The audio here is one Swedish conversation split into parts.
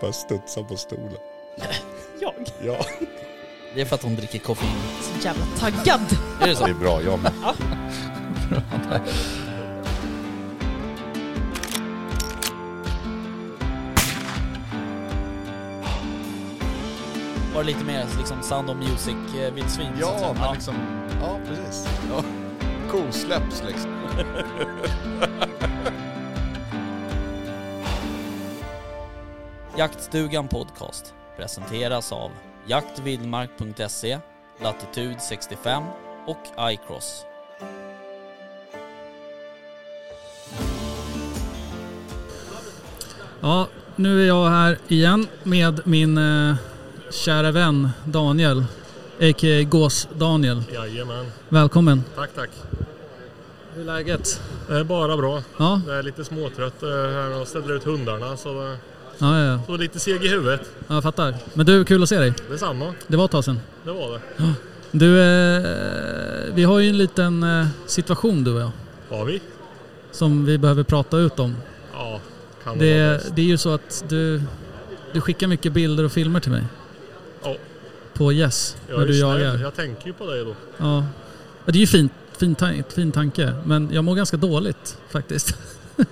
Bara studsa på stolen. Jag? Ja. Det är för att hon dricker koffein. Så jävla taggad. Är det Det så? är bra, jag med. Var det lite mer liksom Sound of Music-vildsvin? Ja, men liksom... Ja, precis. Ja. Kosläpps liksom. Jaktstugan Podcast presenteras av jaktvildmark.se, Latitude 65 och iCross. Ja, nu är jag här igen med min eh, kära vän Daniel, a.k.a. Gås-Daniel. Jajamän. Välkommen. Tack, tack. Hur är läget? Det är bara bra. Ja, Jag är lite småtrött eh, här och ställer ut hundarna så, eh, ja, ja, ja. så lite seg i huvudet. ja jag fattar. Men du, kul att se dig. Detsamma, Det var ett tag sedan. det var det. Du, eh, vi har ju en liten eh, situation du och jag, Har vi? som vi behöver prata ut om. Ja, kan det, vara Det, bäst. det är ju så att du, du skickar mycket bilder och filmer till mig. Ja. På Yes, Jag när är du ju snäll. jagar. Jag tänker ju på dig då. Ja. Ja, Det är ju fint. Fin, tan- fin tanke, men jag mår ganska dåligt faktiskt.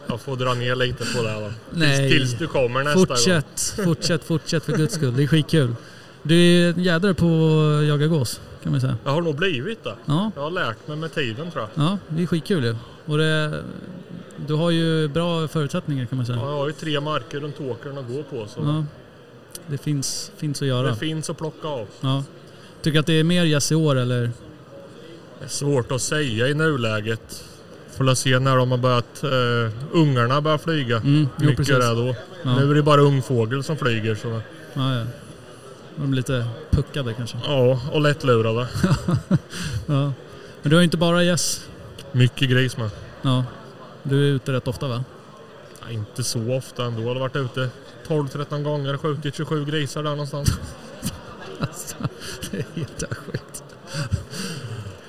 Jag får dra ner lite på det här då. Nej. Tills, tills du kommer nästa gång. Fortsätt, fortsätt, fortsätt för guds skull. Det är skitkul. Du är en jädra på att jaga gås kan man ju säga. Jag har nog blivit det. Ja, Jag har lärt mig med tiden tror jag. ja det är skitkul ju. Och det, du har ju bra förutsättningar kan man Ja, säga. Jag har ju tre marker runt åkern att gå på så Ja, det finns, finns att det göra. finns att plocka av. Ja. Tycker att det är mer gäss i år eller? Det är svårt att säga i nuläget. Får väl se när de har börjat, eh, ungarna börjar flyga. Mm, Hur jo mycket precis. det är då. Ja. Nu är det bara ungfågel som flyger. Så. Ja, ja. De är lite puckade kanske. Ja, och lättlurade. Ja. Men du har ju inte bara gäss. Mycket gris med. Ja. Du är ute rätt ofta va? Ja, inte så ofta ändå. Jag har varit ute 12-13 gånger och skjutit 27 grisar där någonstans. Alltså, det är helt sjukt.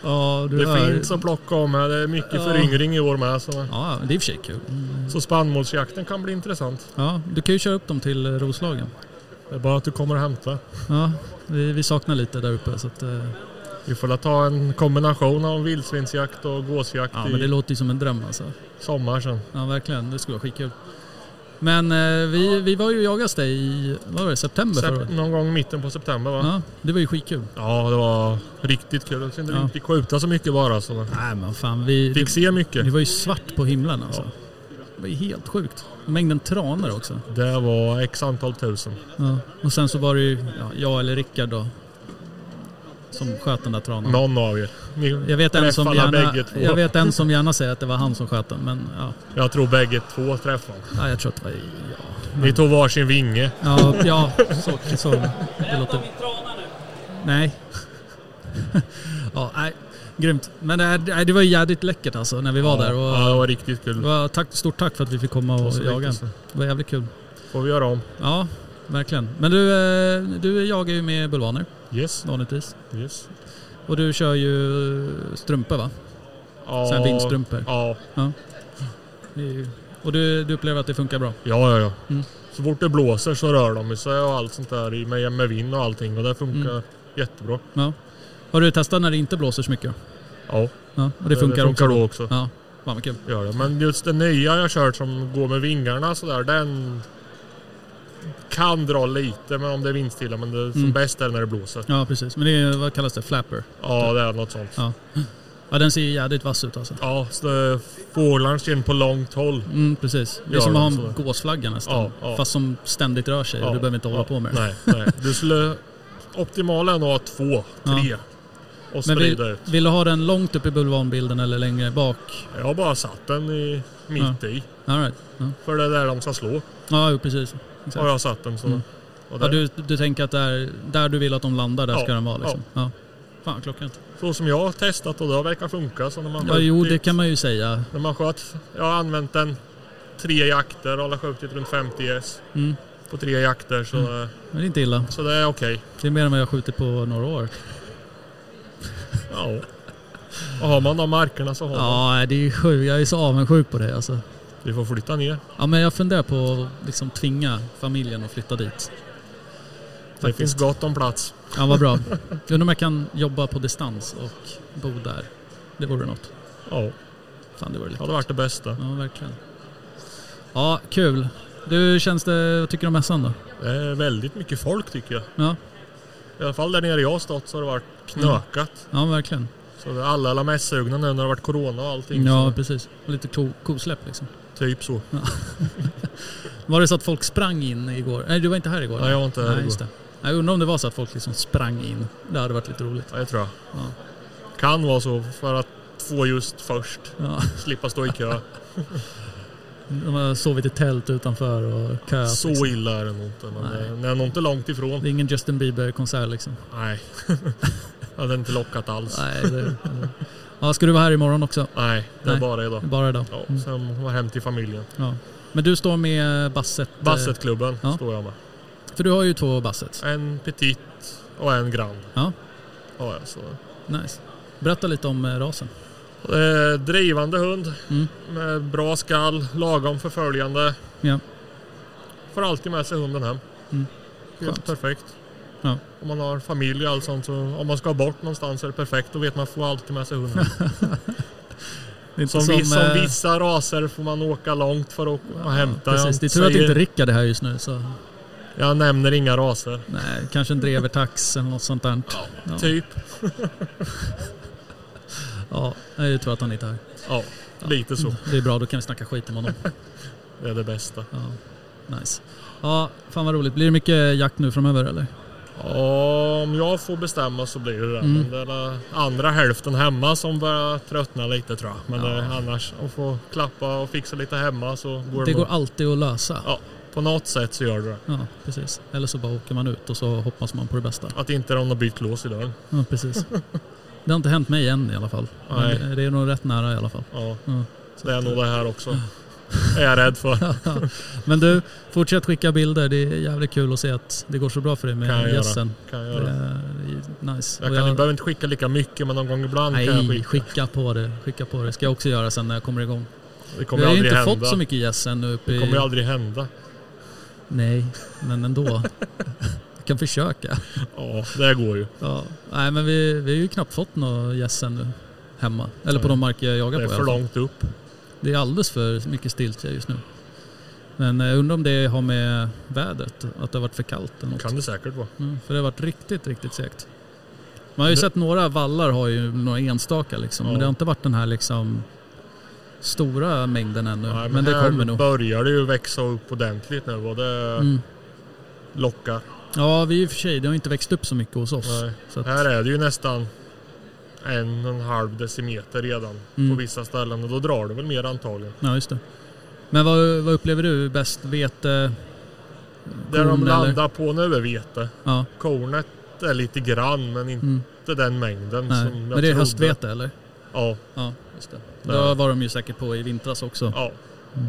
Ja, du det hör. finns att plocka om här. Det är mycket Ja. föryngring i år med. Så, Ja, det är i och för sig kul. så spannmålsjakten kan bli intressant. Ja, du kan ju köra upp dem till eh, Roslagen. Det är bara att du kommer och hämtar. Ja, vi, vi saknar lite där uppe så att, eh, Vi får väl ta en kombination av vildsvinsjakt och gåsjakt Ja, i men det låter ju som en dröm alltså. sommar sen. Ja, verkligen. Det skulle vara skitkul. Men eh, vi, vi var ju och jagade dig i, vad var det, september förra Sep- året? någon gång i mitten på september va? Ja, det var ju skitkul. Ja, det var riktigt kul. Synd att vi Ja. inte fick skjuta så mycket bara. Så. Nej men fan, vi, Fick det, se mycket. det var ju svart på himlen alltså. Det var ju helt sjukt. Mängden tranor också. Det var x antal tusen. Ja. Och sen så var det ju ja, jag eller Rickard då, som sköt den där tranan. Någon av er. Ni, Jag vet, en som Träffarna bägge gärna, två. jag vet en som gärna säger att det var han som sköt den, men ja, jag tror bägge två träffade. ja jag tror att det var... Ni tog varsin vinge. Ja, ja, ja så, så det låter... Nej. ja, nej, grymt. Men det, här- nej, det var ju jädrigt läckert alltså när vi var där. ja, det Och, var riktigt det kul. var tack, stort tack för att vi fick komma Och och så jaga. riktigt så. Det var jävligt kul. Får vi göra om. Ja, verkligen. Men du, eh, du jagar ju med bulvaner Yes. vanligtvis. yes. Och du kör ju strumpor va? Ja, Så här vindstrumpor. Ja, Det är ju- Och du, du upplever att det funkar bra? ja, ja. ja. Mm. Så fort det blåser så rör de sig och allt sånt där i- med, med vind och allting. Och det funkar Mm. jättebra. Har du testat när det inte blåser så mycket? Ja, Ja, och det funkar, Eh, det funkar också? då också. Ja, fan vad kul. Gör det. Men just den nya jag kört som går med vingarna sådär, den kan dra lite men om det är vindstilla. Men det, som Mm. bäst är det när det blåser. Ja, precis. Men det är, vad kallas det? Flapper? Ja, det är något sånt. Ja, den ser ju jädrigt vass ut alltså. Ja, så det- fåglarna ser in på långt håll. Mm, precis. Det är Ja, som att ha en så. gåsflagga nästan. Ja, ja. Fast som ständigt rör sig och Ja, du behöver inte hålla ja, på med det. Nej, nej. Du skulle... Optimala är nog att ha två, tre. Och Men sprida vill, ut. vill du ha den långt upp i bulvanbilden eller längre bak? Jag har bara satt den i, mitt i. All right. Ja, För det är där de ska slå. ja jo, precis. Har jag satt den så. Mm. Och Ja, där, du, du tänker att där, där du vill att de landar, där Ja, ska den vara liksom. Ja. Fan, klockrent. Så som jag har testat och det har verkar funka. Så när man Ja, sköt jo, i- det kan man ju säga. När man sköt, jag har använt den tre jakter och har skjutit runt 50 gäss Mm. på tre jakter så, Men det är inte illa. så det är okej. Det är mer än vad jag har skjutit på några år. Ja. Och har man de markerna så har man. Ja, det är sjukt. Jag är så avundsjuk på dig alltså. Vi får flytta ner. Ja, men jag funderar på att liksom tvinga familjen att flytta dit. Det finns Faktiskt. gott om plats. Ja, vad bra. Undrar om jag kan jobba på distans och bo där. Det vore något. Ja, Fan, det vore det lite. hade varit det bästa. Ja, verkligen. Ja, kul. Du, känns det, vad tycker du om mässan då? Det är väldigt mycket folk tycker jag. Ja, I alla fall där nere jag har stått så har det varit knökat. ja verkligen. Så det- alla är alla mässugna nu när det har varit corona och allting. Mm. Ja, Så, precis. Och lite ko- kosläpp liksom. typ så. Var det så att folk sprang in igår? Nej, du var inte här igår? Nej, jag var inte här Nej, just igår. det. Jag undrar om det var så att folk liksom sprang in. Det hade varit lite roligt. Ja, jag tror jag. Ja. Kan vara så för att få just först. Ja, Slippa stå i kö. de har sovit i tält utanför och köat. Så liksom. illa är det nog inte. Men Nej. det- det är nog inte långt ifrån. Det är ingen Justin Bieber-konsert liksom. Nej. det hade inte lockat alls. Nej, Nej, det... ja, ska du vara här imorgon också? det är Nej. Mm. bara idag. Bara idag? Ja, sen var hem till familjen. Ja. Men du står med basset? eh, Bassetklubben Ja. står jag med. För du har ju två basset. En petit och en grand. Ja. Ja, ja, så. Nice. Berätta lite om eh, rasen. Eh, drivande hund Mm. med bra skall, lagom förföljande. Ja. Får alltid med sig hunden hem. Mm. Helt Skönt. perfekt. Ja. Om man har familj och allt sånt, så om man ska bort någonstans är det perfekt. Då vet man får alltid med sig hunden. Det är inte Som, vi, som eh, vissa raser får man åka långt för att och hämta. Precis, det är jag, tur att säger- inte Rickard är här just nu. Så. jag nämner inga raser. Nej, kanske en drevertax eller något sånt där. Ja. Typ. Ja, det är ju tur att han inte är här. Ja, lite så. Det är bra, då kan vi snacka skit om honom. Mm. Det är det bästa. Ja, nice. Ja, fan vad roligt. Blir det mycket jakt nu framöver eller? Ja, Om jag får bestämma så blir det det. Mm. Men det är den andra hälften hemma som börjar tröttna lite tror jag. Men Ja. det, annars att få klappa och fixa lite hemma så går det, Det går nog- alltid att lösa. Ja. På något sätt så gör det det. Ja, precis. Eller så bara åker man ut och så hoppas man på det bästa. Att inte de har bytt lås i dörren. Ja, precis. Det har inte hänt mig än i alla fall. Men Nej. det- det är nog rätt nära i alla fall. Ja, Ja, det är nog det här också. Mm. Är jag rädd för. Men du, fortsätt skicka bilder. Det är jävligt kul att se att det går så bra för dig Kan jag med göra. gässen. Kan jag Det göra. är nice. Jag, Och kan, jag behöver inte skicka lika mycket men någon gång ibland kan jag Nej, skicka. skicka på det. Skicka på det. ska jag också göra sen när jag kommer igång. Det Vi kommer har ju aldrig inte hända. fått så mycket gäss ännu uppe Det i... kommer ju aldrig hända. Nej, men ändå. jag kan försöka. Ja, det går ju. Ja. Nej, men vi, vi har ju knappt fått några gäss ännu hemma. Eller på Nej. de marker jag jagar Det är på i för alla fall. långt upp. Det är alldeles för mycket stiltje just nu. Men jag undrar om det har med vädret, att det har varit för kallt eller något. Kan det säkert vara. Mm, för det har varit riktigt, riktigt segt. Man har ju sett några vallar har ju några enstaka liksom. Men Ja. det har inte varit den här liksom stora mängden ännu. Nej, men det här kommer nog. börjar det ju växa upp ordentligt nu och det Mm. lockar. Ja, vi i och för sig, det har inte växt upp så mycket hos oss. Nej. Så att, Här är det ju nästan en och en halv decimeter redan Mm. på vissa ställen och då drar det väl mer antagligen. ja, just det. Men vad, vad upplever du bäst? Vete? Där Korn de eller- landar på nu är vete. Ja, Kornet är lite grann men inte mm, den mängden nej. som jag Men det är trodde. höstvete eller? Ja, Ja, just det. Ja. Då var de ju säkert på i vintras också. ja. Mm.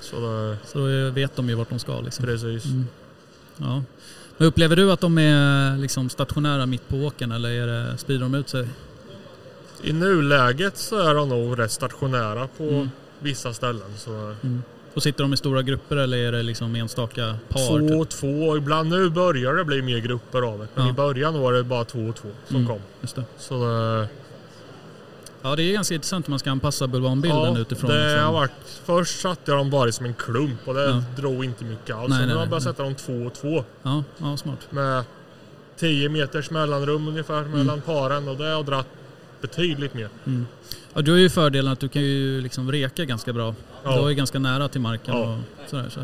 Så det, Så då vet de ju vart de ska liksom. precis. Mm. Ja. Men upplever du att de är liksom stationära mitt på åkern eller är det, sprider de ut sig? I nuläget så är de nog rätt stationära på Mm. vissa ställen. Så Och sitter de i stora grupper eller är det liksom enstaka par? Två typ? och två. Ibland nu börjar det bli mer grupper av det. Men Ja. i början var det bara två och två som Mm. kom. Just det. Så eh, det, Ja, det är ganska intressant hur man ska anpassa bulvanbilden ja, utifrån. det liksom. har varit, först satte jag dem bara som en klump och det Ja. drog inte mycket alls. Nej, Nej, nu nej, har jag börjat nej. sätta dem två och två ja, ja, smart. med 10 meters mellanrum ungefär Mm. mellan paren och det har dragit betydligt mer. Ja, du har ju fördelen att du kan ju liksom reka ganska bra. Ja. Du har ju ganska nära till marken Ja. och sådär. Så.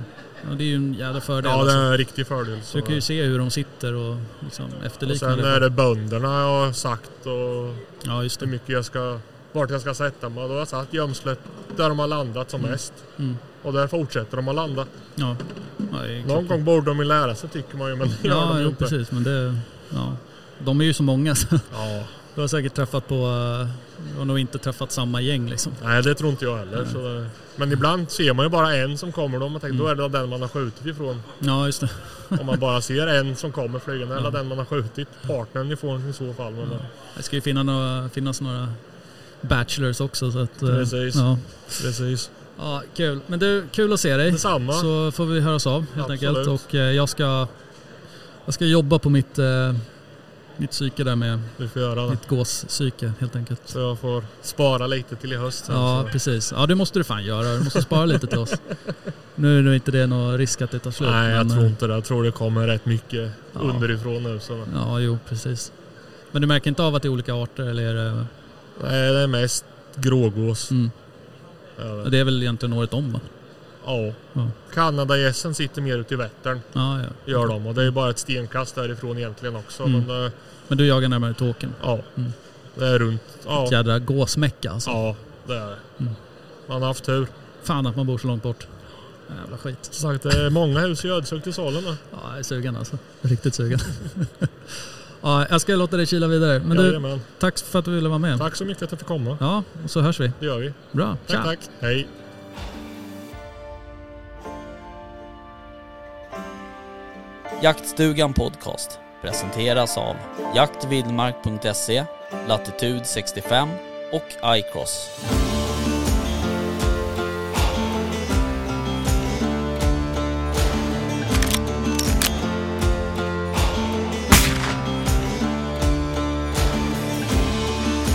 Ja, det är ju en jävla fördel. Ja, det alltså. är en riktig fördel. Så. Du kan ju se hur de sitter och liksom och efterlikna. sen är det bönderna jag har sagt och Ja, just hur det. mycket jag ska, vart jag ska sätta mig. Då har jag satt gömslet där de har landat som mest. Mm. Och där fortsätter de att landa. Ja. Ja, det är Någon gång borde de ju lära sig tycker man ju, men det gör Ja, de ju jo, inte. precis. Men det, ja. De är ju så många så Ja. du har säkert träffat på, eh, du har nog inte träffat samma gäng liksom. Nej, det tror inte jag heller. Så det... Men ibland ser man ju bara en som kommer då, man tänker, Mm. då är det den man har skjutit ifrån. Ja, just det. Om man bara ser en som kommer flygande, eller den man har skjutit partnern ifrån i så fall. Men Det ska ju finna några, finnas några bachelors också. Så att, eh, Precis. Ja. Precis. Ja, kul. Men du, kul att se dig. Detsamma. Så får vi höras av helt Absolut. enkelt. Och eh, jag ska, jag ska jobba på mitt, eh, mitt psyke där med Du får göra det. mitt gåspsyke helt enkelt. Så jag får spara lite till i höst sen. Ja, så. precis. Ja, det måste du fan göra. Du måste spara lite till oss. Nu är det inte det någon risk att det tar slut. Nej, jag men, tror eh, inte det. Jag tror det kommer rätt mycket Ja. underifrån nu. Så. Ja, jo, precis. Men du märker inte av att det är olika arter? Eller är det, Nej, det är mest grågås. Mm. Ja, det är väl egentligen året om va? Ja. Ja. Kanadagässen sitter mer ute i Vättern, Ja, ja. gör de. Och det är bara ett stenkast därifrån egentligen också. Mm. Men det, Men du jagar närmare Tåkern? ja, Mm. det är runt. Ja, Ett jädra gåsmäcka alltså. ja det är det. Mm. Man har haft tur. Fan att man bor så långt bort. Jävla skit. Som sagt, det är många hus i Ödeshög till salen nu. Ja, jag är sugen alltså. Riktigt sugen. ja, jag ska låta dig kila vidare. Men du, Jajamän. tack för att du ville vara med. Tack så mycket att jag fick komma. Ja, och så hörs vi. Det gör vi. Bra. Tack, tack. Hej. Jaktstugan Podcast presenteras av jaktvildmark.se, Latitude 65 och iCross.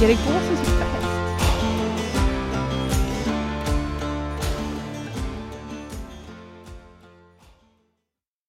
Är det gåsen som ska hem?